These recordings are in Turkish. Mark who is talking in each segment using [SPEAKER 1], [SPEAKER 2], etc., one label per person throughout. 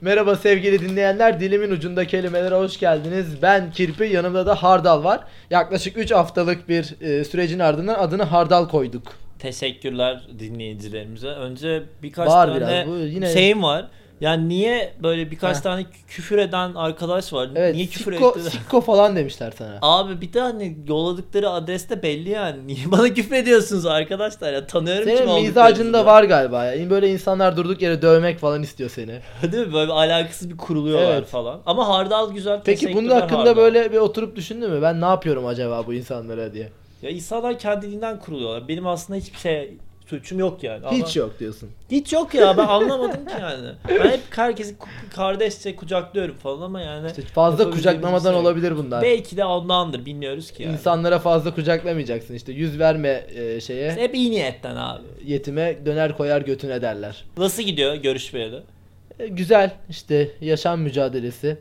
[SPEAKER 1] Merhaba sevgili dinleyenler. Dilimin ucunda kelimelere hoş geldiniz. Ben Kirpi, yanımda da Hardal var. Yaklaşık 3 haftalık bir e, sürecin ardından adını Hardal koyduk.
[SPEAKER 2] Teşekkürler dinleyicilerimize. Önce birkaç
[SPEAKER 1] Bağır
[SPEAKER 2] tane şey-
[SPEAKER 1] biraz, bu yine-
[SPEAKER 2] şeyim var. Yani niye böyle birkaç
[SPEAKER 1] Heh.
[SPEAKER 2] tane kü- küfür eden arkadaş var?
[SPEAKER 1] Evet,
[SPEAKER 2] niye küfür
[SPEAKER 1] sikko,
[SPEAKER 2] ettiler?
[SPEAKER 1] sikko falan demişler sana.
[SPEAKER 2] Abi bir de hani yolladıkları adres de belli yani. Niye bana küfür ediyorsunuz arkadaşlar ya? Tanıyorum kim
[SPEAKER 1] Senin
[SPEAKER 2] olduklarınızı
[SPEAKER 1] mizacında
[SPEAKER 2] da.
[SPEAKER 1] var galiba ya. Böyle insanlar durduk yere dövmek falan istiyor seni.
[SPEAKER 2] Değil mi? Böyle alakasız bir kuruluyorlar
[SPEAKER 1] Evet.
[SPEAKER 2] falan. Ama hardal güzel.
[SPEAKER 1] Peki bunun
[SPEAKER 2] teşekkürler
[SPEAKER 1] hakkında
[SPEAKER 2] hardal.
[SPEAKER 1] böyle bir oturup düşündün mü? Ben ne yapıyorum acaba bu insanlara diye.
[SPEAKER 2] Ya insanlar kendiliğinden kuruluyorlar. Benim aslında hiçbir şey suçum yok yani. Ama-
[SPEAKER 1] Hiç yok diyorsun.
[SPEAKER 2] Hiç yok ya ben anlamadım ki yani. Ben hep herkesi ku- kardeşçe kucaklıyorum falan ama yani.
[SPEAKER 1] İşte fazla
[SPEAKER 2] yapabildiğimiz bir
[SPEAKER 1] kucaklamadan
[SPEAKER 2] şey yok.
[SPEAKER 1] olabilir bunlar.
[SPEAKER 2] Belki de ondandır bilmiyoruz ki yani.
[SPEAKER 1] İnsanlara fazla kucaklamayacaksın işte. Yüz verme e, şeye.
[SPEAKER 2] Biz Hep iyi niyetten abi.
[SPEAKER 1] yetime döner koyar götüne derler.
[SPEAKER 2] Nasıl gidiyor görüşmeyeli?
[SPEAKER 1] E, güzel işte yaşam mücadelesi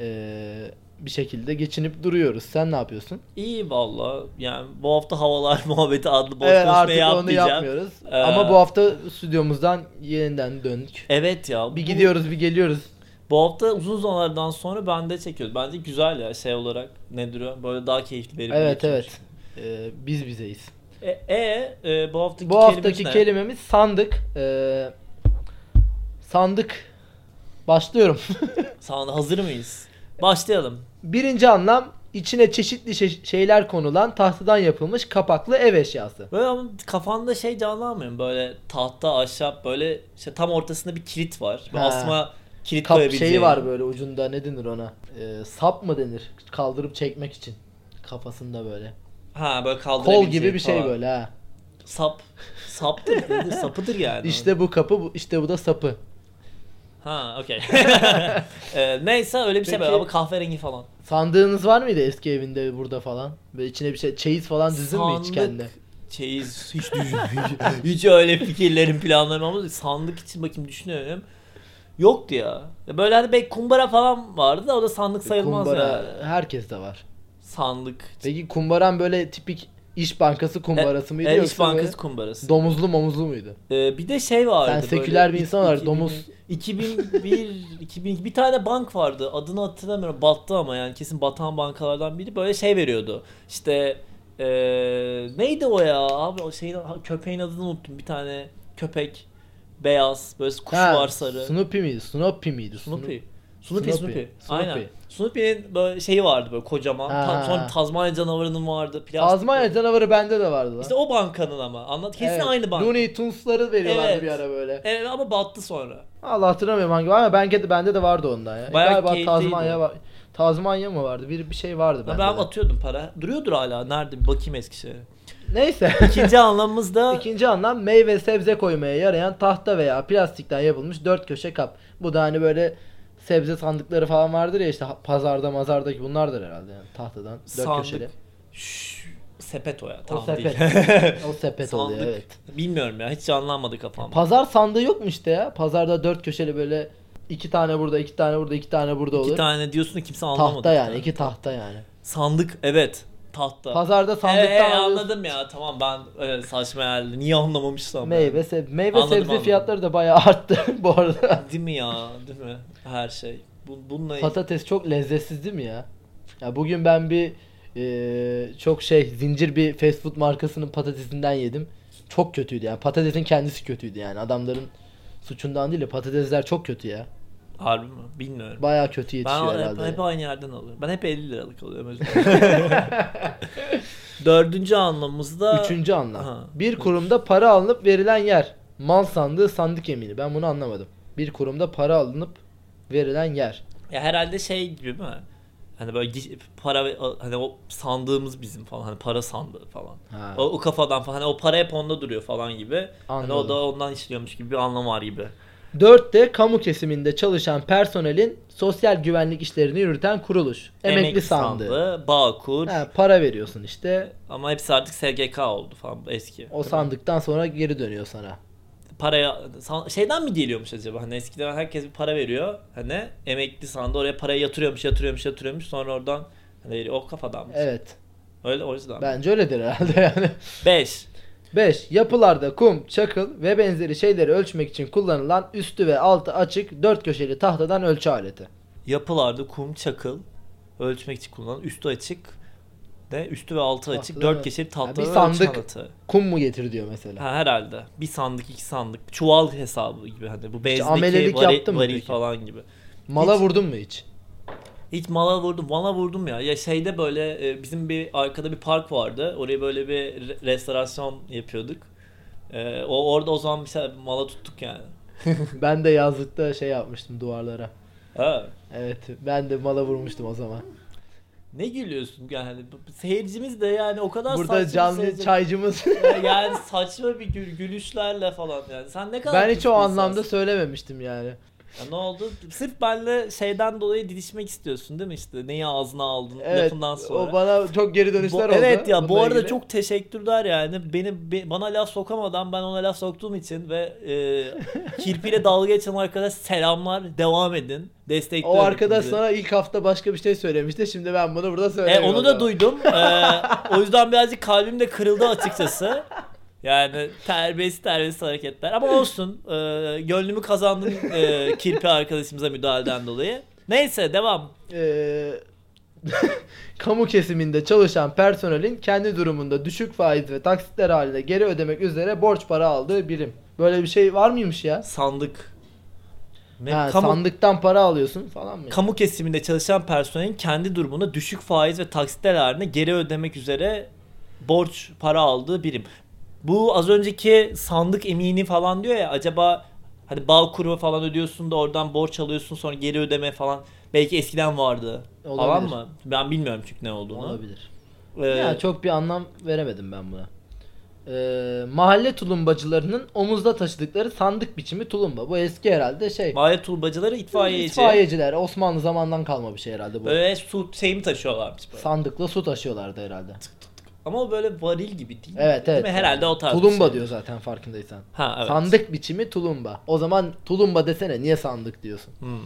[SPEAKER 1] E, bir şekilde geçinip duruyoruz. Sen ne yapıyorsun?
[SPEAKER 2] İyi valla. Yani bu hafta havalar muhabbeti adlı boş
[SPEAKER 1] evet artık
[SPEAKER 2] konuşmayı
[SPEAKER 1] onu
[SPEAKER 2] yapmayacağım.
[SPEAKER 1] yapmıyoruz.
[SPEAKER 2] Ee,
[SPEAKER 1] Ama bu hafta stüdyomuzdan yeniden döndük.
[SPEAKER 2] Evet ya.
[SPEAKER 1] Bir
[SPEAKER 2] bu-
[SPEAKER 1] gidiyoruz bir geliyoruz.
[SPEAKER 2] Bu hafta uzun zamanlardan sonra bende çekiyoruz. Bence güzel ya şey olarak. Nedir o? Böyle daha keyifli verimli
[SPEAKER 1] Evet
[SPEAKER 2] geçmiş.
[SPEAKER 1] evet. E, biz bizeyiz.
[SPEAKER 2] E, e, e, bu haftaki
[SPEAKER 1] bu haftaki
[SPEAKER 2] kelimemiz ne?
[SPEAKER 1] kelimemiz sandık. E, sandık. Başlıyorum.
[SPEAKER 2] Sana hazır mıyız? Başlayalım.
[SPEAKER 1] Birinci anlam içine çeşitli şey- şeyler konulan tahtadan yapılmış kapaklı ev eşyası.
[SPEAKER 2] Böyle ama kafanda şey canlanmıyor mu? Böyle tahta, ahşap böyle işte tam ortasında bir kilit var. Bir
[SPEAKER 1] Ha.
[SPEAKER 2] asma kilit
[SPEAKER 1] Kap
[SPEAKER 2] koyabileceğin.
[SPEAKER 1] şeyi var böyle ucunda ne denir ona? Ee, sap mı denir? Kaldırıp çekmek için. Kafasında böyle.
[SPEAKER 2] Ha böyle kaldırabileceğin
[SPEAKER 1] Kol gibi bir şey
[SPEAKER 2] falan.
[SPEAKER 1] böyle ha.
[SPEAKER 2] Sap. Saptır. nedir? Sapıdır yani.
[SPEAKER 1] İşte bu kapı, bu, işte bu da sapı.
[SPEAKER 2] Ha okey. Ee, neyse öyle bir şey
[SPEAKER 1] Peki-
[SPEAKER 2] böyle ama kahverengi falan.
[SPEAKER 1] Sandığınız var mıydı eski evinde burada falan? Ve içine bir şey çeyiz falan düzdün mü hiç
[SPEAKER 2] Sandık-
[SPEAKER 1] kendine?
[SPEAKER 2] Çeyiz hiç düşünmüyorum. hiç öyle fikirlerim planlarım olmadı. Sandık için bakayım düşünüyorum. Yoktu ya. Ya Böyle hani belki kumbara falan vardı da o da sandık sayılmaz
[SPEAKER 1] E, Kumbara
[SPEAKER 2] yani.
[SPEAKER 1] herkeste var.
[SPEAKER 2] Sandık.
[SPEAKER 1] Peki kumbaran böyle tipik iş bankası kumbarası mıydı
[SPEAKER 2] E,
[SPEAKER 1] yoksa
[SPEAKER 2] İş Bankası
[SPEAKER 1] böyle
[SPEAKER 2] kumbarası.
[SPEAKER 1] domuzlu momuzlu muydu?
[SPEAKER 2] Ee, bir de şey vardı.
[SPEAKER 1] Sen seküler bir insan olarak
[SPEAKER 2] var
[SPEAKER 1] domuz-
[SPEAKER 2] 2001, 2002 bir tane bank vardı. Adını hatırlamıyorum. Battı ama yani kesin batan bankalardan biri. Böyle şey veriyordu. İşte eee, neydi o ya? Abi o şeyin ha, köpeğin adını unuttum. Bir tane köpek beyaz böyle kuş
[SPEAKER 1] Ha,
[SPEAKER 2] var sarı.
[SPEAKER 1] Snoopy miydi? Snoopy miydi?
[SPEAKER 2] Snoopy.
[SPEAKER 1] Snoopy.
[SPEAKER 2] Snoopy, Snoopy.
[SPEAKER 1] Snoopy.
[SPEAKER 2] Aynen. Snoopy'nin böyle şeyi vardı böyle kocaman. Ta-
[SPEAKER 1] Ha.
[SPEAKER 2] sonra Tazmanya canavarının vardı. Plastik.
[SPEAKER 1] Tazmanya canavarı bende de vardı lan.
[SPEAKER 2] İşte o bankanın ama. Anlat. Kesin
[SPEAKER 1] Evet,
[SPEAKER 2] aynı banka.
[SPEAKER 1] Looney Tunes'ları veriyorlardı
[SPEAKER 2] Evet.
[SPEAKER 1] bir ara böyle.
[SPEAKER 2] Evet E, ama battı sonra.
[SPEAKER 1] Allah hatırlamıyorum hangi var ama bende, bende de vardı ondan ya.
[SPEAKER 2] Bayağı
[SPEAKER 1] Galiba
[SPEAKER 2] keyifliydi.
[SPEAKER 1] Tazmanya var. Tazmanya mı vardı? Bir bir şey vardı
[SPEAKER 2] Ya
[SPEAKER 1] bende.
[SPEAKER 2] ben
[SPEAKER 1] de.
[SPEAKER 2] atıyordum para. Duruyordur hala. Nerede? Bir bakayım Eskişehir'e.
[SPEAKER 1] Neyse.
[SPEAKER 2] İkinci anlamımız da
[SPEAKER 1] İkinci anlam meyve sebze koymaya yarayan tahta veya plastikten yapılmış dört köşe kap. Bu da hani böyle sebze sandıkları falan vardır ya işte ha- pazarda mazardaki bunlardır herhalde yani tahtadan dört köşeli.
[SPEAKER 2] sandık. Şşş, sepet o ya. Tamam
[SPEAKER 1] sepet.
[SPEAKER 2] değil.
[SPEAKER 1] O sepet oluyor
[SPEAKER 2] Sandık.
[SPEAKER 1] evet.
[SPEAKER 2] Bilmiyorum ya. Hiç anlanmadı kafam.
[SPEAKER 1] Pazar sandığı yok mu işte ya? Pazarda dört köşeli böyle iki tane burada, iki tane burada, iki tane burada olur.
[SPEAKER 2] İki tane diyorsun da kimse anlamadı.
[SPEAKER 1] tahta yani, iki tahta yani.
[SPEAKER 2] Sandık. Evet. Tahta.
[SPEAKER 1] Pazarda
[SPEAKER 2] Ee,
[SPEAKER 1] sandıktan
[SPEAKER 2] ee,
[SPEAKER 1] alıyorsun.
[SPEAKER 2] anladım ya. Tamam ben e, saçma herhalde. Niye anlamamışsam. ya.
[SPEAKER 1] Meyve, seb- meyve
[SPEAKER 2] Anladım,
[SPEAKER 1] sebze
[SPEAKER 2] anladım.
[SPEAKER 1] fiyatları da bayağı arttı bu arada.
[SPEAKER 2] Değil mi ya? Değil mi? Her şey. Bu, bununla
[SPEAKER 1] Patates çok lezzetsiz değil mi ya? Ya bugün ben bir e, çok şey zincir bir fast food markasının patatesinden yedim. Çok kötüydü yani. Patatesin kendisi kötüydü yani. Adamların suçundan değil de patatesler çok kötü ya.
[SPEAKER 2] Harbi mi? Bilmiyorum.
[SPEAKER 1] Bayağı kötü
[SPEAKER 2] Ben
[SPEAKER 1] yetişiyor
[SPEAKER 2] al- hep,
[SPEAKER 1] herhalde.
[SPEAKER 2] hep aynı yerden alıyorum. Ben hep 50 liralık alıyorum özür dilerim. Dördüncü anlamımızda
[SPEAKER 1] Üçüncü anlam.
[SPEAKER 2] Ha.
[SPEAKER 1] Bir kurumda para alınıp verilen yer. Mal sandığı sandık emini. Ben bunu anlamadım. Bir kurumda para alınıp verilen yer.
[SPEAKER 2] ya herhalde şey gibi mi? Hani böyle gi- para ve- hani o sandığımız bizim falan hani para sandığı falan.
[SPEAKER 1] Ha.
[SPEAKER 2] O, o kafadan falan hani o para hep onda duruyor falan gibi. Hani
[SPEAKER 1] Anladım.
[SPEAKER 2] o da ondan işliyormuş gibi bir anlam var gibi.
[SPEAKER 1] 4'te kamu kesiminde çalışan personelin sosyal güvenlik işlerini yürüten kuruluş. Emekli, sandığı.
[SPEAKER 2] Bağkur
[SPEAKER 1] Ha, para veriyorsun işte.
[SPEAKER 2] ama hepsi artık SGK oldu falan eski.
[SPEAKER 1] O sandıktan sonra geri dönüyor sana.
[SPEAKER 2] paraya san- şeyden mi geliyormuş acaba? Hani eskiden herkes bir para veriyor. Hani emekli sandı oraya parayı yatırıyormuş, yatırıyormuş, yatırıyormuş. Sonra oradan hani o kafadan mı?
[SPEAKER 1] Evet.
[SPEAKER 2] Öyle o yüzden.
[SPEAKER 1] Bence öyledir herhalde yani.
[SPEAKER 2] 5.
[SPEAKER 1] 5. Yapılarda kum, çakıl ve benzeri şeyleri ölçmek için kullanılan üstü ve altı açık dört köşeli tahtadan ölçü aleti.
[SPEAKER 2] Yapılarda kum, çakıl ölçmek için kullanılan üstü açık de üstü ve altı
[SPEAKER 1] Tahtalar
[SPEAKER 2] açık
[SPEAKER 1] mı?
[SPEAKER 2] dört kişilik
[SPEAKER 1] Ha, bir
[SPEAKER 2] tahtalı
[SPEAKER 1] sandık.
[SPEAKER 2] Çanatı.
[SPEAKER 1] Kum mu getir diyor mesela.
[SPEAKER 2] Ha, herhalde. Bir sandık, iki sandık. Çuval hesabı gibi hani bu benzindeki
[SPEAKER 1] amelelik
[SPEAKER 2] vari-
[SPEAKER 1] yaptın mı
[SPEAKER 2] varil
[SPEAKER 1] peki?
[SPEAKER 2] falan gibi.
[SPEAKER 1] Mala
[SPEAKER 2] hiç-
[SPEAKER 1] vurdun mu hiç?
[SPEAKER 2] Hiç mala vurdum, mala vurdum ya. Ya şeyde böyle e, bizim bir arkada bir park vardı. Oraya böyle bir re- restorasyon yapıyorduk. E, o orada o zaman bir şey mala tuttuk yani.
[SPEAKER 1] ben de yazlıkta şey yapmıştım duvarlara.
[SPEAKER 2] Ha.
[SPEAKER 1] Evet ben de mala vurmuştum o zaman.
[SPEAKER 2] Ne gülüyorsun yani? Hani Bu- Seyircimiz de yani o kadar saçma
[SPEAKER 1] Burada
[SPEAKER 2] bir
[SPEAKER 1] canlı
[SPEAKER 2] seyirci-
[SPEAKER 1] çaycımız.
[SPEAKER 2] yani saçma bir gül- gülüşlerle falan yani. Sen ne kadar
[SPEAKER 1] ben hiç
[SPEAKER 2] kötü
[SPEAKER 1] o
[SPEAKER 2] bir
[SPEAKER 1] anlamda
[SPEAKER 2] insansın.
[SPEAKER 1] söylememiştim yani.
[SPEAKER 2] Ya ne oldu? Sırf benle şeyden dolayı didişmek istiyorsun değil mi işte? Neyi ağzına aldın
[SPEAKER 1] Evet.
[SPEAKER 2] lafından
[SPEAKER 1] O
[SPEAKER 2] sonra.
[SPEAKER 1] bana çok geri
[SPEAKER 2] Bu-
[SPEAKER 1] dönüşler oldu.
[SPEAKER 2] evet ya bu
[SPEAKER 1] bununla
[SPEAKER 2] arada
[SPEAKER 1] ilgili.
[SPEAKER 2] çok teşekkürler yani. Beni be- bana laf sokamadan ben ona laf soktuğum için ve e, kirpiyle dalga geçen arkadaş selamlar. Devam edin. Destekliyorum.
[SPEAKER 1] o arkadaş
[SPEAKER 2] sizi.
[SPEAKER 1] sana ilk hafta başka bir şey söylemişti. Şimdi ben bunu burada
[SPEAKER 2] E,
[SPEAKER 1] söyleyeyim. o
[SPEAKER 2] onu
[SPEAKER 1] zaman.
[SPEAKER 2] da duydum. E, o yüzden birazcık kalbim de kırıldı açıkçası. Yani terbiyesiz terbiyesiz hareketler. Ama olsun. E, gönlümü kazandın e, kirpi arkadaşımıza müdahaleden dolayı. Neyse devam.
[SPEAKER 1] Eee, Ee, kamu kesiminde çalışan personelin kendi durumunda düşük faiz ve taksitler halinde geri ödemek üzere borç para aldığı birim. Böyle bir şey var mıymış ya?
[SPEAKER 2] Sandık. Ne,
[SPEAKER 1] Ha,
[SPEAKER 2] kamu,
[SPEAKER 1] Sandıktan para alıyorsun falan mı?
[SPEAKER 2] kamu kesiminde çalışan personelin kendi durumunda düşük faiz ve taksitler halinde geri ödemek üzere borç para aldığı birim. Bu az önceki sandık emini falan diyor ya acaba hani bağ kurumu falan ödüyorsun da oradan borç alıyorsun sonra geri ödeme falan belki eskiden vardı falan
[SPEAKER 1] Olabilir.
[SPEAKER 2] mı? Ben bilmiyorum çünkü ne olduğunu.
[SPEAKER 1] Olabilir.
[SPEAKER 2] Ee,
[SPEAKER 1] Ya çok bir anlam veremedim ben buna. Eee, mahalle tulumbacılarının omuzda taşıdıkları sandık biçimi tulumba. Bu eski herhalde şey.
[SPEAKER 2] Mahalle turbacıları itfaiyeci.
[SPEAKER 1] İtfaiyeciler Osmanlı zamandan kalma bir şey herhalde bu.
[SPEAKER 2] Böyle su şeyimi taşıyorlarmış böyle.
[SPEAKER 1] Sandıkla su taşıyorlardı herhalde.
[SPEAKER 2] Ama o böyle varil gibi değil mi?
[SPEAKER 1] Evet
[SPEAKER 2] Değil
[SPEAKER 1] evet.
[SPEAKER 2] mi? Herhalde o tarz. bir
[SPEAKER 1] Tulumba
[SPEAKER 2] şey.
[SPEAKER 1] diyor zaten farkındaysan.
[SPEAKER 2] Ha evet.
[SPEAKER 1] Sandık biçimi tulumba. O zaman tulumba desene niye sandık diyorsun?
[SPEAKER 2] Hmm.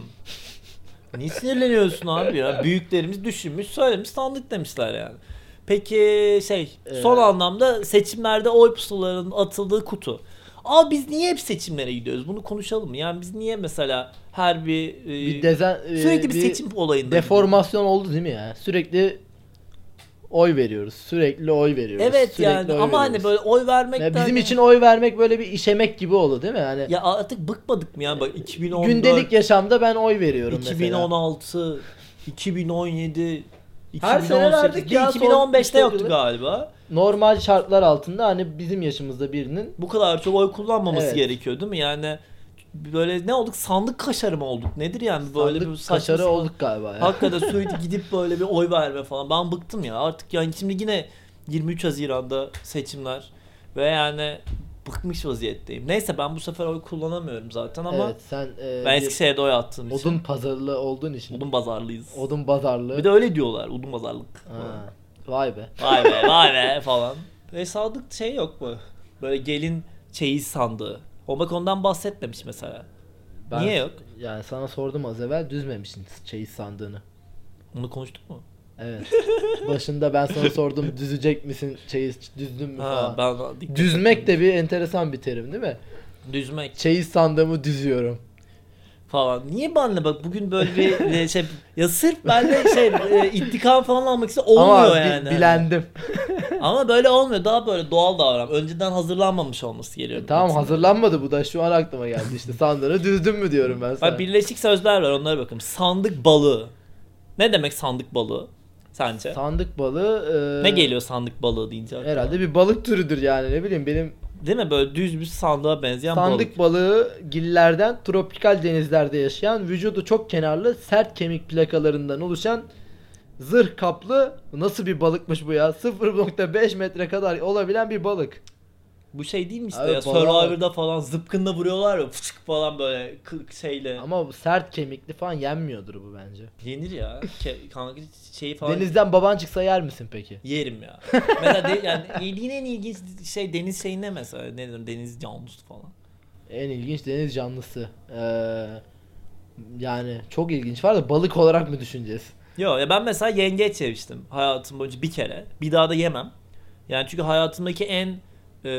[SPEAKER 2] Niye sinirleniyorsun abi ya? Büyüklerimiz düşünmüş, söylemiş, sandık demişler yani. Peki şey, son
[SPEAKER 1] Ee,
[SPEAKER 2] anlamda seçimlerde oy pusularının atıldığı kutu. Aa biz niye hep seçimlere gidiyoruz? Bunu konuşalım mı? Yani biz niye mesela her bir, e,
[SPEAKER 1] Bir dezen, e,
[SPEAKER 2] sürekli bir, seçim olayında
[SPEAKER 1] deformasyon oldu değil mi ya? Sürekli oy veriyoruz. Sürekli oy veriyoruz.
[SPEAKER 2] gidiyoruz? Evet
[SPEAKER 1] sürekli
[SPEAKER 2] yani
[SPEAKER 1] oy
[SPEAKER 2] ama hani
[SPEAKER 1] veriyoruz.
[SPEAKER 2] böyle oy vermekten hani
[SPEAKER 1] Ya bizim için oy vermek böyle bir işemek gibi oldu değil mi? Hani
[SPEAKER 2] ya artık bıkmadık mı ya bak 2014
[SPEAKER 1] E, gündelik yaşamda ben oy veriyorum mesela.
[SPEAKER 2] 2016, 2017,
[SPEAKER 1] Her
[SPEAKER 2] 2018,
[SPEAKER 1] sene verdik
[SPEAKER 2] bir
[SPEAKER 1] ya, son
[SPEAKER 2] 2015'te
[SPEAKER 1] üç
[SPEAKER 2] yoktu
[SPEAKER 1] yıldır.
[SPEAKER 2] galiba.
[SPEAKER 1] Normal şartlar altında hani bizim yaşımızda birinin
[SPEAKER 2] Bu kadar çok oy kullanmaması
[SPEAKER 1] Evet.
[SPEAKER 2] gerekiyor değil mi? Yani böyle ne olduk? Sandık kaşarı mı olduk? Nedir yani böyle
[SPEAKER 1] sandık
[SPEAKER 2] bir saçma
[SPEAKER 1] kaşarı
[SPEAKER 2] sapan-
[SPEAKER 1] olduk galiba ya.
[SPEAKER 2] Hakikaten sürekli gidip böyle bir oy verme falan. Ben bıktım ya artık yani şimdi yine 23 Haziran'da seçimler ve yani bıkmış vaziyetteyim. Neyse ben bu sefer oy kullanamıyorum zaten ama
[SPEAKER 1] Evet sen e,
[SPEAKER 2] ben
[SPEAKER 1] bir
[SPEAKER 2] Eskişehir'de oy attığım
[SPEAKER 1] odun
[SPEAKER 2] için
[SPEAKER 1] pazarlı olduğun için. Odun,
[SPEAKER 2] odun bazarlıyız.
[SPEAKER 1] pazarlığı.
[SPEAKER 2] Bir de öyle diyorlar odun bazarlık. falan.
[SPEAKER 1] Ha, Vay be.
[SPEAKER 2] Vay be vay be falan. Ve sadık şey yok mu? Böyle gelin çeyiz sandığı. O bak ondan bahsetmemiş mesela. Niye yok?
[SPEAKER 1] Yani sana sordum az evvel düzmemişsin çeyiz sandığını.
[SPEAKER 2] Onu konuştuk mu?
[SPEAKER 1] Evet. Başında ben sana sordum düzecek misin çeyiz düzdün mü
[SPEAKER 2] Ha,
[SPEAKER 1] falan.
[SPEAKER 2] ben dikkat
[SPEAKER 1] Düzmek
[SPEAKER 2] etmedim.
[SPEAKER 1] de bir enteresan bir terim değil mi?
[SPEAKER 2] Düzmek
[SPEAKER 1] Çeyiz sandığımı düzüyorum.
[SPEAKER 2] falan. Niye benle bak bugün böyle bir e, şey ya sırf benle şey e, intikam falan almak için olmuyor
[SPEAKER 1] Ama bi-
[SPEAKER 2] yani.
[SPEAKER 1] bilendim.
[SPEAKER 2] Ama böyle olmuyor. Daha böyle doğal davran. Önceden hazırlanmamış olması geliyor.
[SPEAKER 1] E, Tamam
[SPEAKER 2] Baksana.
[SPEAKER 1] hazırlanmadı bu da şu an aklıma geldi işte sandığını düzdün mü diyorum ben sana.
[SPEAKER 2] Bak birleşik sözler var onlara bakın. Sandık balığı. Ne demek sandık balığı sence?
[SPEAKER 1] Sandık balığı e,
[SPEAKER 2] ne geliyor sandık balığı deyince? aklına?
[SPEAKER 1] Herhalde bir balık türüdür yani ne bileyim benim
[SPEAKER 2] Değil mi böyle düz bir sandığa benzeyen
[SPEAKER 1] sandık
[SPEAKER 2] balık.
[SPEAKER 1] balığı gillerden tropikal denizlerde yaşayan vücudu çok kenarlı sert kemik plakalarından oluşan zırh kaplı nasıl bir balıkmış bu ya 0.5 metre kadar olabilen bir balık.
[SPEAKER 2] Bu şey değil mi işte
[SPEAKER 1] Abi
[SPEAKER 2] ya
[SPEAKER 1] balığa bak.
[SPEAKER 2] Survivor'da falan zıpkınla vuruyorlar ya fışık falan böyle kı- şeyle.
[SPEAKER 1] Ama bu sert kemikli falan yenmiyordur bu bence.
[SPEAKER 2] Yenir ya. Ke- kanka şeyi falan
[SPEAKER 1] Denizden baban çıksa yer misin peki?
[SPEAKER 2] yerim ya. mesela de- yani yediğin en ilginç şey deniz şeyi ne mesela? Ne denir deniz canlısı falan.
[SPEAKER 1] En ilginç deniz canlısı. Ee, yani çok ilginç var da balık olarak mı düşüneceğiz?
[SPEAKER 2] Yo ya ben mesela yengeç yemiştim hayatım boyunca bir kere. Bir daha da yemem. Yani çünkü hayatımdaki en e,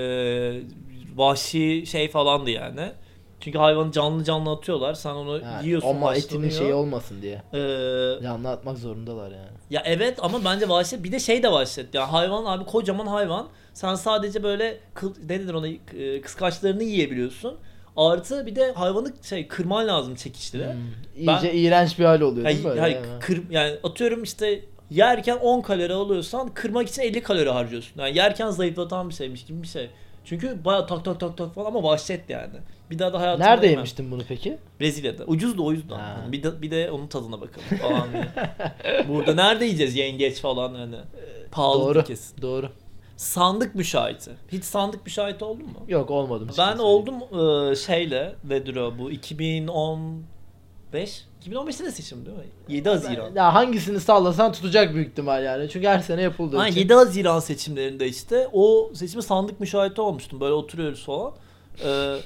[SPEAKER 2] vahşi şey falandı yani. Çünkü hayvanı canlı canlı atıyorlar. Sen onu
[SPEAKER 1] Ha,
[SPEAKER 2] yiyorsun.
[SPEAKER 1] ama şey etinin
[SPEAKER 2] haşlanıyor.
[SPEAKER 1] şeyi olmasın diye.
[SPEAKER 2] Ee,
[SPEAKER 1] Canlı atmak zorundalar yani.
[SPEAKER 2] Ya evet ama bence vahşet bir de şey de vahşet. Ya hayvan abi kocaman hayvan. Sen sadece böyle kıl, ne denir ona e, kıskaçlarını yiyebiliyorsun. Artı bir de hayvanı şey kırman lazım çekişle.
[SPEAKER 1] Hmm. İyice iğrenç bir hal oluyor değil mi
[SPEAKER 2] Yani,
[SPEAKER 1] böyle?
[SPEAKER 2] yani
[SPEAKER 1] Yani?
[SPEAKER 2] kır, yani atıyorum işte yerken 10 kalori alıyorsan kırmak için 50 kalori harcıyorsun. Yani yerken zayıflatan bir şeymiş gibi bir şey. Çünkü baya tak tak tak tak falan ama vahşet yani. Bir daha da hayatımda
[SPEAKER 1] Nerede
[SPEAKER 2] yemem.
[SPEAKER 1] yemiştin bunu peki?
[SPEAKER 2] Brezilya'da. Ucuz da o yüzden.
[SPEAKER 1] Ha.
[SPEAKER 2] Hani Bir, de, bir de onun tadına bakalım falan diye. Burada nerede yiyeceğiz yengeç falan hani. Pahalı
[SPEAKER 1] Doğru.
[SPEAKER 2] kesin.
[SPEAKER 1] Doğru.
[SPEAKER 2] Sandık müşahiti. Hiç sandık müşahiti oldun mu?
[SPEAKER 1] Yok şey olmadım.
[SPEAKER 2] Ben oldum e, şeyle Vedro bu 2015. 2015'te de seçim değil mi? 7 Haziran.
[SPEAKER 1] Ya hangisini sallasan tutacak büyük ihtimal yani. Çünkü her sene yapıldığı
[SPEAKER 2] Ha,
[SPEAKER 1] için.
[SPEAKER 2] 7 Haziran seçimlerinde işte o seçime sandık müşahiti olmuştum. Böyle oturuyoruz falan. E,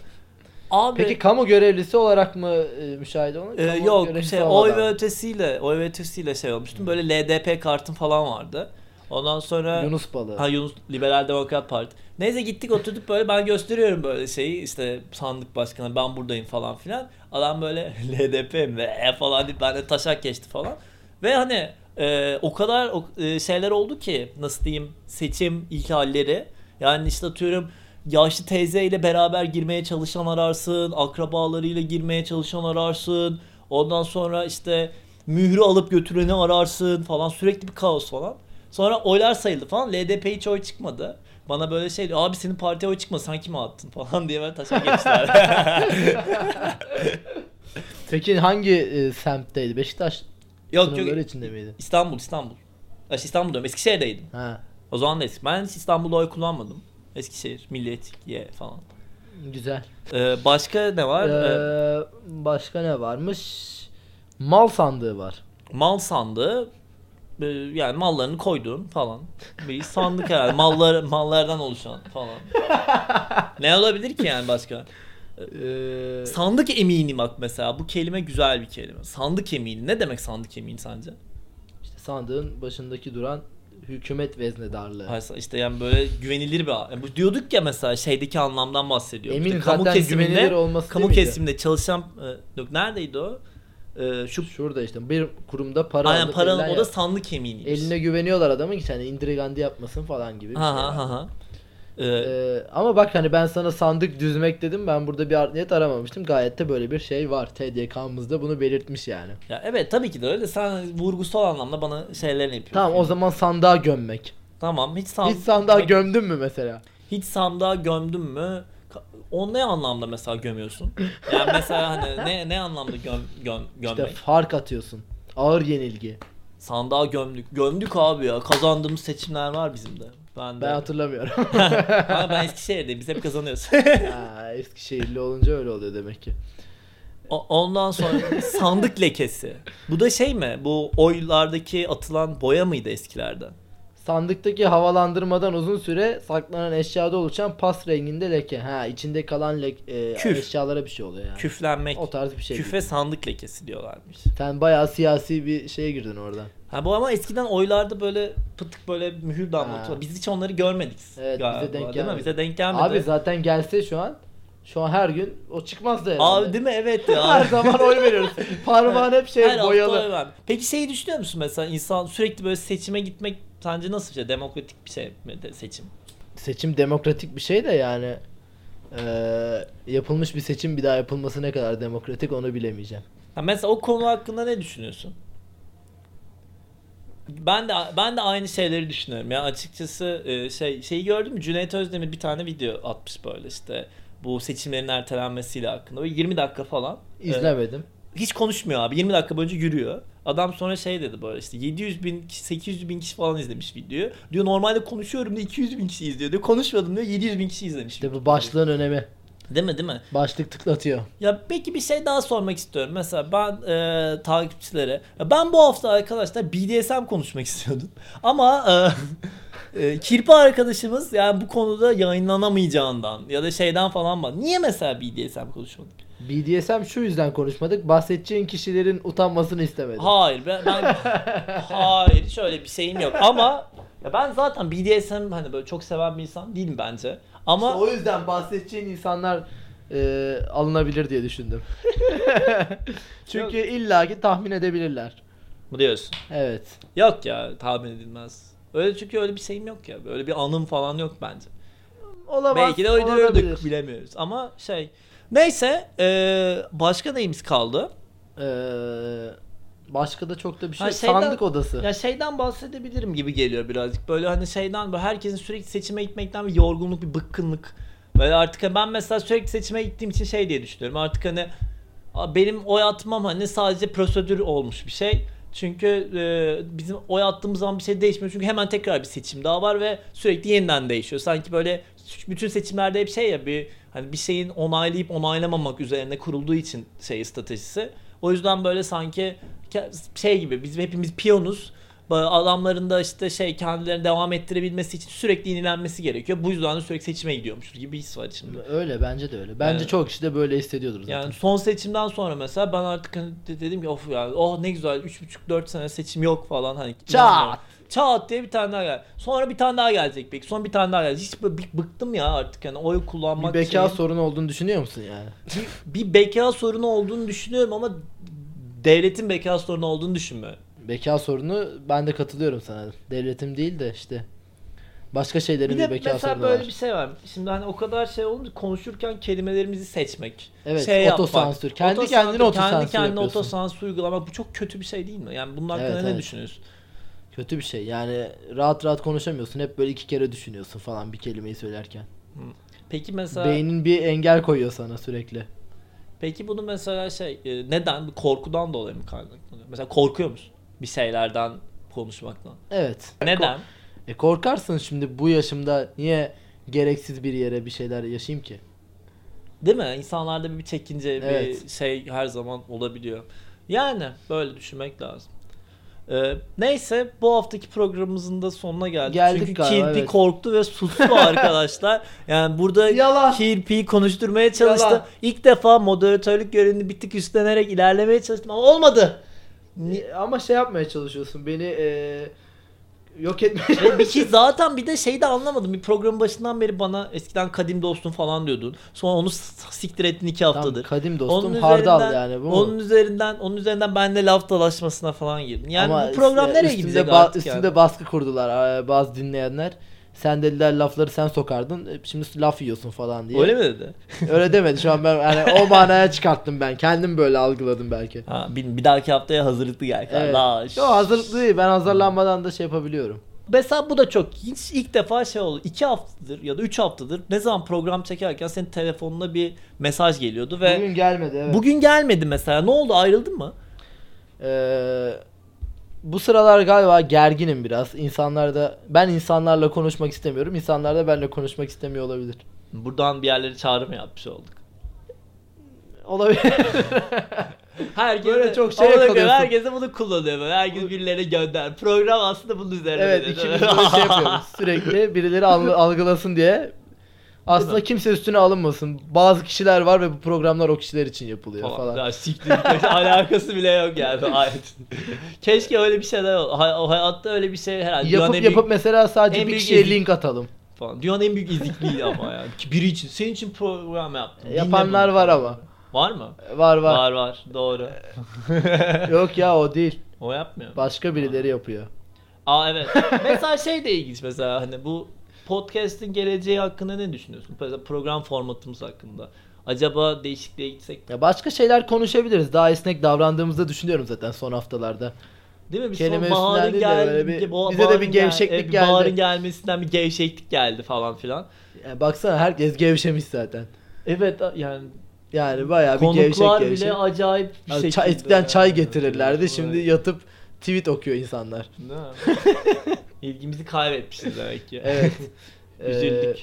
[SPEAKER 2] abi
[SPEAKER 1] Peki kamu görevlisi olarak mı e, müşahede olun?
[SPEAKER 2] Ee,
[SPEAKER 1] Kamu
[SPEAKER 2] yok
[SPEAKER 1] görevlisi
[SPEAKER 2] şey
[SPEAKER 1] olmadan.
[SPEAKER 2] oy ve ötesiyle oy ve ötesiyle şey olmuştum. Böyle LDP kartım falan vardı. Ondan sonra
[SPEAKER 1] Yunus balığı.
[SPEAKER 2] ha Yunus Liberal Demokrat Parti. Neyse gittik oturduk böyle ben gösteriyorum böyle şeyi işte sandık başkanı ben buradayım falan filan. Adam böyle LDP mi e falan deyip bende taşak geçti falan. Ve hani e, o kadar o, e, şeyler oldu ki nasıl diyeyim seçim ihlalleri. Yani işte atıyorum yaşlı teyzeyle beraber girmeye çalışan ararsın, akrabalarıyla girmeye çalışan ararsın. Ondan sonra işte mührü alıp götüreni ararsın falan sürekli bir kaos falan. Sonra oylar sayıldı falan. LDP hiç oy çıkmadı. Bana böyle şey diyor, abi senin partiye oy çıkma sen kime attın falan diye ben taşa geçtiler.
[SPEAKER 1] Peki hangi e, semtteydi? Beşiktaş
[SPEAKER 2] yok yok
[SPEAKER 1] sınırları içinde miydi?
[SPEAKER 2] İstanbul İstanbul. Ay, İstanbul diyorum Eskişehir'deydim.
[SPEAKER 1] Ha.
[SPEAKER 2] O zaman da Eski. Ben hiç İstanbul'da oy kullanmadım. Eskişehir, Milliyetçiye falan.
[SPEAKER 1] Güzel.
[SPEAKER 2] Ee, başka ne var? Ee,
[SPEAKER 1] Ee, başka ne varmış? Mal sandığı var.
[SPEAKER 2] mal sandığı. Ee, yani mallarını koyduğun falan. Bir sandık herhalde. Mallar, mallardan oluşan falan. ne olabilir ki yani başka?
[SPEAKER 1] Ee,
[SPEAKER 2] Sandık emini bak mesela bu kelime güzel bir kelime. Sandık emini ne demek sandık emini sence?
[SPEAKER 1] işte sandığın başındaki duran hükümet veznedarlığı.
[SPEAKER 2] Hayır, işte yani böyle güvenilir bir yani bu diyorduk ya mesela şeydeki anlamdan bahsediyor.
[SPEAKER 1] Emin
[SPEAKER 2] İşte
[SPEAKER 1] zaten güvenilir olması
[SPEAKER 2] kamu
[SPEAKER 1] değil miydi?
[SPEAKER 2] kesiminde çalışan e, yok neredeydi o? E, şu
[SPEAKER 1] Şurada işte bir kurumda para
[SPEAKER 2] aynen
[SPEAKER 1] alıp
[SPEAKER 2] paranın
[SPEAKER 1] elinden
[SPEAKER 2] o da
[SPEAKER 1] yap-
[SPEAKER 2] sandık eminiymiş.
[SPEAKER 1] eline güveniyorlar adamın ki hani indirgandı yapmasın falan gibi bir
[SPEAKER 2] ha
[SPEAKER 1] şey.
[SPEAKER 2] ha ha ha. E,
[SPEAKER 1] Ee, ama bak hani ben sana sandık düzmek dedim ben burada bir art niyet aramamıştım. Gayet de böyle bir şey var. TDK'mız da bunu belirtmiş yani.
[SPEAKER 2] ya evet tabii ki de öyle. Sen vurgusal anlamda bana şeylerini yapıyorsun.
[SPEAKER 1] Tamam o zaman sandığa gömmek.
[SPEAKER 2] Tamam hiç sandık
[SPEAKER 1] Hiç sandığa gömdün mü mesela?
[SPEAKER 2] Hiç sandığa gömdün mü? Ka- Onu ne anlamda mesela gömüyorsun? Yani mesela hani ne ne anlamda göm, göm
[SPEAKER 1] İşte
[SPEAKER 2] gömmek?
[SPEAKER 1] fark atıyorsun. Ağır yenilgi.
[SPEAKER 2] Sandığa gömdük. Gömdük abi ya. Kazandığımız seçimler var bizim de. Ben de.
[SPEAKER 1] Ben hatırlamıyorum.
[SPEAKER 2] Ama ben Eskişehir'deyim. Biz hep kazanıyoruz.
[SPEAKER 1] ha, Eskişehirli olunca öyle oluyor demek ki.
[SPEAKER 2] O- Ondan sonra sandık lekesi. Bu da şey mi? Bu oylardaki atılan boya mıydı eskilerde?
[SPEAKER 1] Sandıktaki havalandırmadan uzun süre saklanan eşyada oluşan pas renginde leke. Ha içinde kalan lek- e,
[SPEAKER 2] Küf.
[SPEAKER 1] eşyalara bir şey oluyor yani.
[SPEAKER 2] Küflenmek.
[SPEAKER 1] O tarz bir şey.
[SPEAKER 2] Küfe sandık lekesi diyorlarmış.
[SPEAKER 1] Sen bayağı siyasi bir şeye girdin oradan.
[SPEAKER 2] Ha bu ama eskiden oylarda böyle pıtık böyle mühür damlatıyorlar.
[SPEAKER 1] Ha.
[SPEAKER 2] Biz hiç onları görmedik.
[SPEAKER 1] Evet,
[SPEAKER 2] galiba,
[SPEAKER 1] bize denk
[SPEAKER 2] değil mi?
[SPEAKER 1] gelmedi.
[SPEAKER 2] Bize denk gelmedi.
[SPEAKER 1] Abi zaten gelse şu an şu an her gün o çıkmaz da herhalde.
[SPEAKER 2] Abi değil mi? Evet
[SPEAKER 1] her
[SPEAKER 2] ya.
[SPEAKER 1] zaman oy veriyoruz. Parmağın hep şey
[SPEAKER 2] Her hafta oy
[SPEAKER 1] boyalı.
[SPEAKER 2] ver. Peki şeyi düşünüyor musun mesela insan sürekli böyle seçime gitmek sence nasıl bir şey? Demokratik bir şey mi de seçim?
[SPEAKER 1] Seçim demokratik bir şey de yani eee, yapılmış bir seçim bir daha yapılması ne kadar demokratik onu bilemeyeceğim.
[SPEAKER 2] Ha mesela o konu hakkında ne düşünüyorsun? Ben de ben de aynı şeyleri düşünüyorum. Ya açıkçası e, şey şeyi gördün mü? Cüneyt Özdemir bir tane video atmış böyle işte bu seçimlerin ertelenmesiyle hakkında. Böyle 20 dakika falan. E,
[SPEAKER 1] İzlemedim.
[SPEAKER 2] hiç konuşmuyor abi. 20 dakika boyunca yürüyor. Adam sonra şey dedi böyle işte 700 bin kişi, 800 bin kişi falan izlemiş videoyu. Diyor normalde konuşuyorum da 200 bin kişi izliyor diyor. Konuşmadım diyor 700 bin kişi izlemiş.
[SPEAKER 1] İşte bu
[SPEAKER 2] videoyu.
[SPEAKER 1] başlığın önemi.
[SPEAKER 2] Değil mi değil mi?
[SPEAKER 1] Başlık tıklatıyor.
[SPEAKER 2] Ya peki bir şey daha sormak istiyorum. Mesela ben e, takipçilere. Ya ben bu hafta arkadaşlar BDSM konuşmak istiyordum. Ama e, e, kirpi arkadaşımız yani bu konuda yayınlanamayacağından ya da şeyden falan var. Niye mesela BDSM konuşmadık?
[SPEAKER 1] BDSM şu yüzden konuşmadık. Bahsedeceğin kişilerin utanmasını istemedim.
[SPEAKER 2] Hayır ben, ben hayır şöyle bir şeyim yok ama ya ben zaten BDSM hani böyle çok seven bir insan değilim bence. Ama
[SPEAKER 1] İşte o yüzden bahsedeceğin insanlar e, alınabilir diye düşündüm. Çünkü illaki tahmin edebilirler.
[SPEAKER 2] mı diyorsun?
[SPEAKER 1] Evet.
[SPEAKER 2] Yok ya tahmin edilmez. Öyle çünkü öyle bir şeyim yok ya. Böyle bir anım falan yok bence.
[SPEAKER 1] Olamaz.
[SPEAKER 2] Belki de uydururduk
[SPEAKER 1] olabilir.
[SPEAKER 2] bilemiyoruz. Ama şey neyse eee, başka neyimiz kaldı?
[SPEAKER 1] Ee, başka da çok da bir şey.
[SPEAKER 2] Ha, şeyden-
[SPEAKER 1] Sandık odası.
[SPEAKER 2] Ya şeyden bahsedebilirim gibi geliyor birazcık. Böyle hani şeyden böyle herkesin sürekli seçime gitmekten bir yorgunluk, bir bıkkınlık. Böyle artık hani ben mesela sürekli seçime gittiğim için şey diye düşünüyorum. Artık hani "Aa, benim oy atmam hani sadece prosedür olmuş bir şey. Çünkü e, bizim oy attığımız zaman bir şey değişmiyor. Çünkü hemen tekrar bir seçim daha var ve sürekli yeniden değişiyor. Sanki böyle bütün seçimlerde hep şey ya bir hani bir şeyin onaylayıp onaylamamak üzerine kurulduğu için şey stratejisi. O yüzden böyle sanki ke- şey gibi biz hepimiz piyonuz. Ba- Adamların da işte şey kendilerini devam ettirebilmesi için sürekli yenilenmesi gerekiyor. Bu yüzden de sürekli seçime gidiyormuşuz gibi bir his var içimde.
[SPEAKER 1] Öyle bence de öyle. Bence
[SPEAKER 2] Evet.
[SPEAKER 1] çok kişi de böyle hissediyordur zaten.
[SPEAKER 2] Yani son seçimden sonra mesela ben artık hani de- dedim ki of yani oh ne güzel 3,5-4 sene seçim yok falan hani. inanmıyorum." Çat diye bir tane daha geldi. Sonra bir tane daha gelecek belki. Son bir tane daha gelecek. Hiç böyle bı- bıktım ya artık yani oy kullanmak
[SPEAKER 1] bir beka
[SPEAKER 2] şeyin-
[SPEAKER 1] sorunu olduğunu düşünüyor musun yani?
[SPEAKER 2] bir, bir beka sorunu olduğunu düşünüyorum ama devletin beka sorunu olduğunu düşünmüyorum.
[SPEAKER 1] Beka sorunu ben de katılıyorum sana. Devletim değil de işte başka şeylerin
[SPEAKER 2] Bir
[SPEAKER 1] bir,
[SPEAKER 2] de
[SPEAKER 1] beka
[SPEAKER 2] mesela
[SPEAKER 1] sorunu
[SPEAKER 2] böyle
[SPEAKER 1] var.
[SPEAKER 2] bir şey var. Şimdi hani o kadar şey olunca konuşurken kelimelerimizi seçmek.
[SPEAKER 1] Evet,
[SPEAKER 2] şey yapmak.
[SPEAKER 1] otosansür. Kendi
[SPEAKER 2] Otosansür,
[SPEAKER 1] kendine otosansür
[SPEAKER 2] Kendi kendine
[SPEAKER 1] yapıyorsun.
[SPEAKER 2] otosansür uygulamak bu çok kötü bir şey değil mi? Yani bunun hakkında
[SPEAKER 1] Evet,
[SPEAKER 2] ne
[SPEAKER 1] evet.
[SPEAKER 2] düşünüyorsun?
[SPEAKER 1] Kötü bir şey. Yani rahat rahat konuşamıyorsun. Hep böyle iki kere düşünüyorsun falan bir kelimeyi söylerken.
[SPEAKER 2] Peki mesela
[SPEAKER 1] Beynin bir engel koyuyor sana sürekli.
[SPEAKER 2] peki bunu mesela şey e, neden korkudan dolayı mı kaynaklanıyor? Mesela korkuyor musun bir şeylerden konuşmaktan?
[SPEAKER 1] Evet.
[SPEAKER 2] Neden?
[SPEAKER 1] E korkarsın şimdi bu yaşımda niye gereksiz bir yere bir şeyler yaşayayım ki?
[SPEAKER 2] Değil mi? İnsanlarda bir çekince, bir
[SPEAKER 1] Evet.
[SPEAKER 2] şey her zaman olabiliyor. Yani böyle düşünmek lazım. Ee, neyse bu haftaki programımızın da sonuna geldik.
[SPEAKER 1] Geldik
[SPEAKER 2] Çünkü
[SPEAKER 1] galiba,
[SPEAKER 2] Kirpi
[SPEAKER 1] evet.
[SPEAKER 2] korktu ve sustu arkadaşlar. Yani burada
[SPEAKER 1] Yalan.
[SPEAKER 2] Kirpi'yi konuşturmaya çalıştım.
[SPEAKER 1] Yalan.
[SPEAKER 2] İlk defa moderatörlük görevini bir tık üstlenerek ilerlemeye çalıştım ama olmadı. Ni-
[SPEAKER 1] E, Ama şey yapmaya çalışıyorsun. Beni e, yok etmeye
[SPEAKER 2] Ve bir şey zaten bir de şeyi de anlamadım. Bir programın başından beri bana eskiden kadim dostum falan diyordun. Sonra onu s- siktir ettin iki haftadır.
[SPEAKER 1] kadim dostum,
[SPEAKER 2] Onun
[SPEAKER 1] hardal
[SPEAKER 2] üzerinden-
[SPEAKER 1] yani bu mu?
[SPEAKER 2] Onun üzerinden onun üzerinden benle laf dalaşmasına falan girdin. Yani
[SPEAKER 1] Ama
[SPEAKER 2] bu program
[SPEAKER 1] üstüne-
[SPEAKER 2] nereye
[SPEAKER 1] üstümde
[SPEAKER 2] gidecek
[SPEAKER 1] ba-
[SPEAKER 2] artık
[SPEAKER 1] Üstümde
[SPEAKER 2] yani?
[SPEAKER 1] baskı kurdular e, bazı dinleyenler. Sen dediler lafları sen sokardın. e, Şimdi laf yiyorsun falan diye.
[SPEAKER 2] Öyle mi dedi?
[SPEAKER 1] Öyle demedi. Şu an ben yani o manaya çıkarttım ben. Kendim böyle algıladım belki.
[SPEAKER 2] Ha, bir, bir dahaki haftaya hazırlıklı gel
[SPEAKER 1] Evet.
[SPEAKER 2] kardeş.
[SPEAKER 1] Yo hazırlıklı değil. Ben hazırlanmadan da şey yapabiliyorum.
[SPEAKER 2] Mesela bu da çok hiç ilk defa şey oldu. iki haftadır ya da üç haftadır ne zaman program çekerken senin telefonuna bir mesaj geliyordu ve
[SPEAKER 1] Bugün gelmedi evet.
[SPEAKER 2] bugün gelmedi mesela. Ne oldu? Ayrıldın mı?
[SPEAKER 1] Ee, bu sıralar galiba gerginim biraz. İnsanlar da ben insanlarla konuşmak istemiyorum. İnsanlar da benimle konuşmak istemiyor olabilir.
[SPEAKER 2] Buradan bir yerlere çağrı mı yapmış olduk?
[SPEAKER 1] Olabilir.
[SPEAKER 2] Herkes
[SPEAKER 1] Böyle
[SPEAKER 2] de-
[SPEAKER 1] çok şey
[SPEAKER 2] Ona göre
[SPEAKER 1] yakalıyorsun.
[SPEAKER 2] Herkes de bunu kullanıyor böyle. Herkes birilerine gönder. Program aslında bunun üzerine.
[SPEAKER 1] evet
[SPEAKER 2] dedi.
[SPEAKER 1] ikimiz böyle şey yapıyoruz. Sürekli birileri al- algılasın diye. Aslında kimse üstüne alınmasın. Bazı kişiler var ve bu programlar o kişiler için yapılıyor
[SPEAKER 2] falan.
[SPEAKER 1] falan.
[SPEAKER 2] Ya siktir git. alakası bile yok yani. Ay. Keşke öyle bir şeyler ol. Hay- o hayatta öyle bir şey herhalde. dünyanın en
[SPEAKER 1] Yapıp yapıp mesela sadece
[SPEAKER 2] en
[SPEAKER 1] bir
[SPEAKER 2] büyük
[SPEAKER 1] kişiye
[SPEAKER 2] ezik-
[SPEAKER 1] link atalım.
[SPEAKER 2] büyük, falan. Dünyanın en büyük ezikliği ama yani. Ki Biri için. Senin için program yaptım. Dinle
[SPEAKER 1] Yapanlar
[SPEAKER 2] bunu.
[SPEAKER 1] var ama.
[SPEAKER 2] Var mı?
[SPEAKER 1] Var var.
[SPEAKER 2] Var var. Doğru.
[SPEAKER 1] Yok ya o değil.
[SPEAKER 2] o yapmıyor. mu?
[SPEAKER 1] Başka birileri yapıyor.
[SPEAKER 2] Aa evet. mesela şey de ilginç mesela hani bu podcast'in geleceği hakkında ne düşünüyorsun? Mesela program formatımız hakkında. Acaba değişikliğe gitsek
[SPEAKER 1] Ya başka şeyler konuşabiliriz. Daha esnek davrandığımızı düşünüyorum zaten son haftalarda.
[SPEAKER 2] Değil mi? Bir
[SPEAKER 1] Kelime
[SPEAKER 2] son baharın
[SPEAKER 1] üstünden değil de
[SPEAKER 2] gel,
[SPEAKER 1] böyle bir-
[SPEAKER 2] ba-
[SPEAKER 1] bize de bir
[SPEAKER 2] baharın
[SPEAKER 1] gevşeklik
[SPEAKER 2] gel- e, bir
[SPEAKER 1] geldi.
[SPEAKER 2] Baharın gelmesinden bir gevşeklik geldi falan filan.
[SPEAKER 1] Yani baksana herkes gevşemiş zaten.
[SPEAKER 2] Evet a- yani
[SPEAKER 1] Yani bayağı bir gevşek
[SPEAKER 2] konuklar
[SPEAKER 1] gevşek.
[SPEAKER 2] bile acayip bir
[SPEAKER 1] Yani
[SPEAKER 2] şekilde.
[SPEAKER 1] çay, eskiden çay
[SPEAKER 2] yani.
[SPEAKER 1] getirirlerdi. Şimdi
[SPEAKER 2] Evet.
[SPEAKER 1] yatıp tweet okuyor insanlar.
[SPEAKER 2] Değil mi? İlgimizi kaybetmişiz demek ki.
[SPEAKER 1] Evet. e,
[SPEAKER 2] Üzüldük.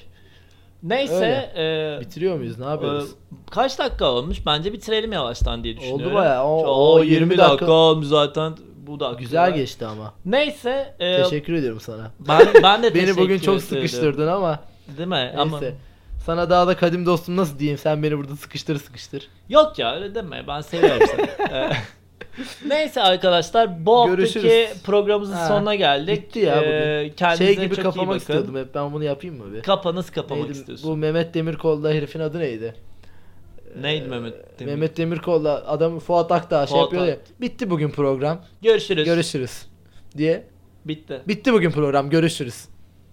[SPEAKER 2] Neyse.
[SPEAKER 1] öyle.
[SPEAKER 2] E,
[SPEAKER 1] Ee, bitiriyor muyuz? Ne
[SPEAKER 2] e,
[SPEAKER 1] yapıyoruz?
[SPEAKER 2] kaç dakika olmuş? Bence bitirelim yavaştan diye düşünüyorum.
[SPEAKER 1] bayağı. O-
[SPEAKER 2] Şu-
[SPEAKER 1] o
[SPEAKER 2] o 20
[SPEAKER 1] 20
[SPEAKER 2] dakika,
[SPEAKER 1] dakika
[SPEAKER 2] olmuş zaten. Bu da
[SPEAKER 1] Güzel
[SPEAKER 2] akıyor.
[SPEAKER 1] geçti ama.
[SPEAKER 2] Neyse. e,
[SPEAKER 1] Teşekkür ediyorum sana.
[SPEAKER 2] ben, ben de
[SPEAKER 1] Beni bugün
[SPEAKER 2] teşekkür
[SPEAKER 1] çok
[SPEAKER 2] ederim. Ee,
[SPEAKER 1] sıkıştırdın ama
[SPEAKER 2] Değil mi? Ama
[SPEAKER 1] neyse. Sana daha da kadim dostum nasıl diyeyim? Sen beni burada sıkıştır sıkıştır.
[SPEAKER 2] Yok ya öyle deme ben seviyorum seni. Ee, Neyse arkadaşlar bu haftaki
[SPEAKER 1] Görüşürüz.
[SPEAKER 2] programımızın
[SPEAKER 1] Ha,
[SPEAKER 2] sonuna geldik. Ee,
[SPEAKER 1] bitti ya bugün.
[SPEAKER 2] kendinize
[SPEAKER 1] şey gibi
[SPEAKER 2] çok iyi
[SPEAKER 1] kapamak
[SPEAKER 2] bakın.
[SPEAKER 1] istiyordum hep. Ben bunu yapayım mı bir?
[SPEAKER 2] Kapanız kapamak
[SPEAKER 1] Neydi
[SPEAKER 2] istiyorsun.
[SPEAKER 1] bu Mehmet Demirkol'da herifin adı neydi?
[SPEAKER 2] Neydi
[SPEAKER 1] Ee,
[SPEAKER 2] Mehmet Demir?
[SPEAKER 1] Mehmet Demirkol'la adam Fuat Akdağ şey
[SPEAKER 2] Fuat
[SPEAKER 1] yapıyor ya. Bitti bugün program.
[SPEAKER 2] Görüşürüz.
[SPEAKER 1] Görüşürüz diye.
[SPEAKER 2] Bitti.
[SPEAKER 1] Bitti bugün program. Görüşürüz.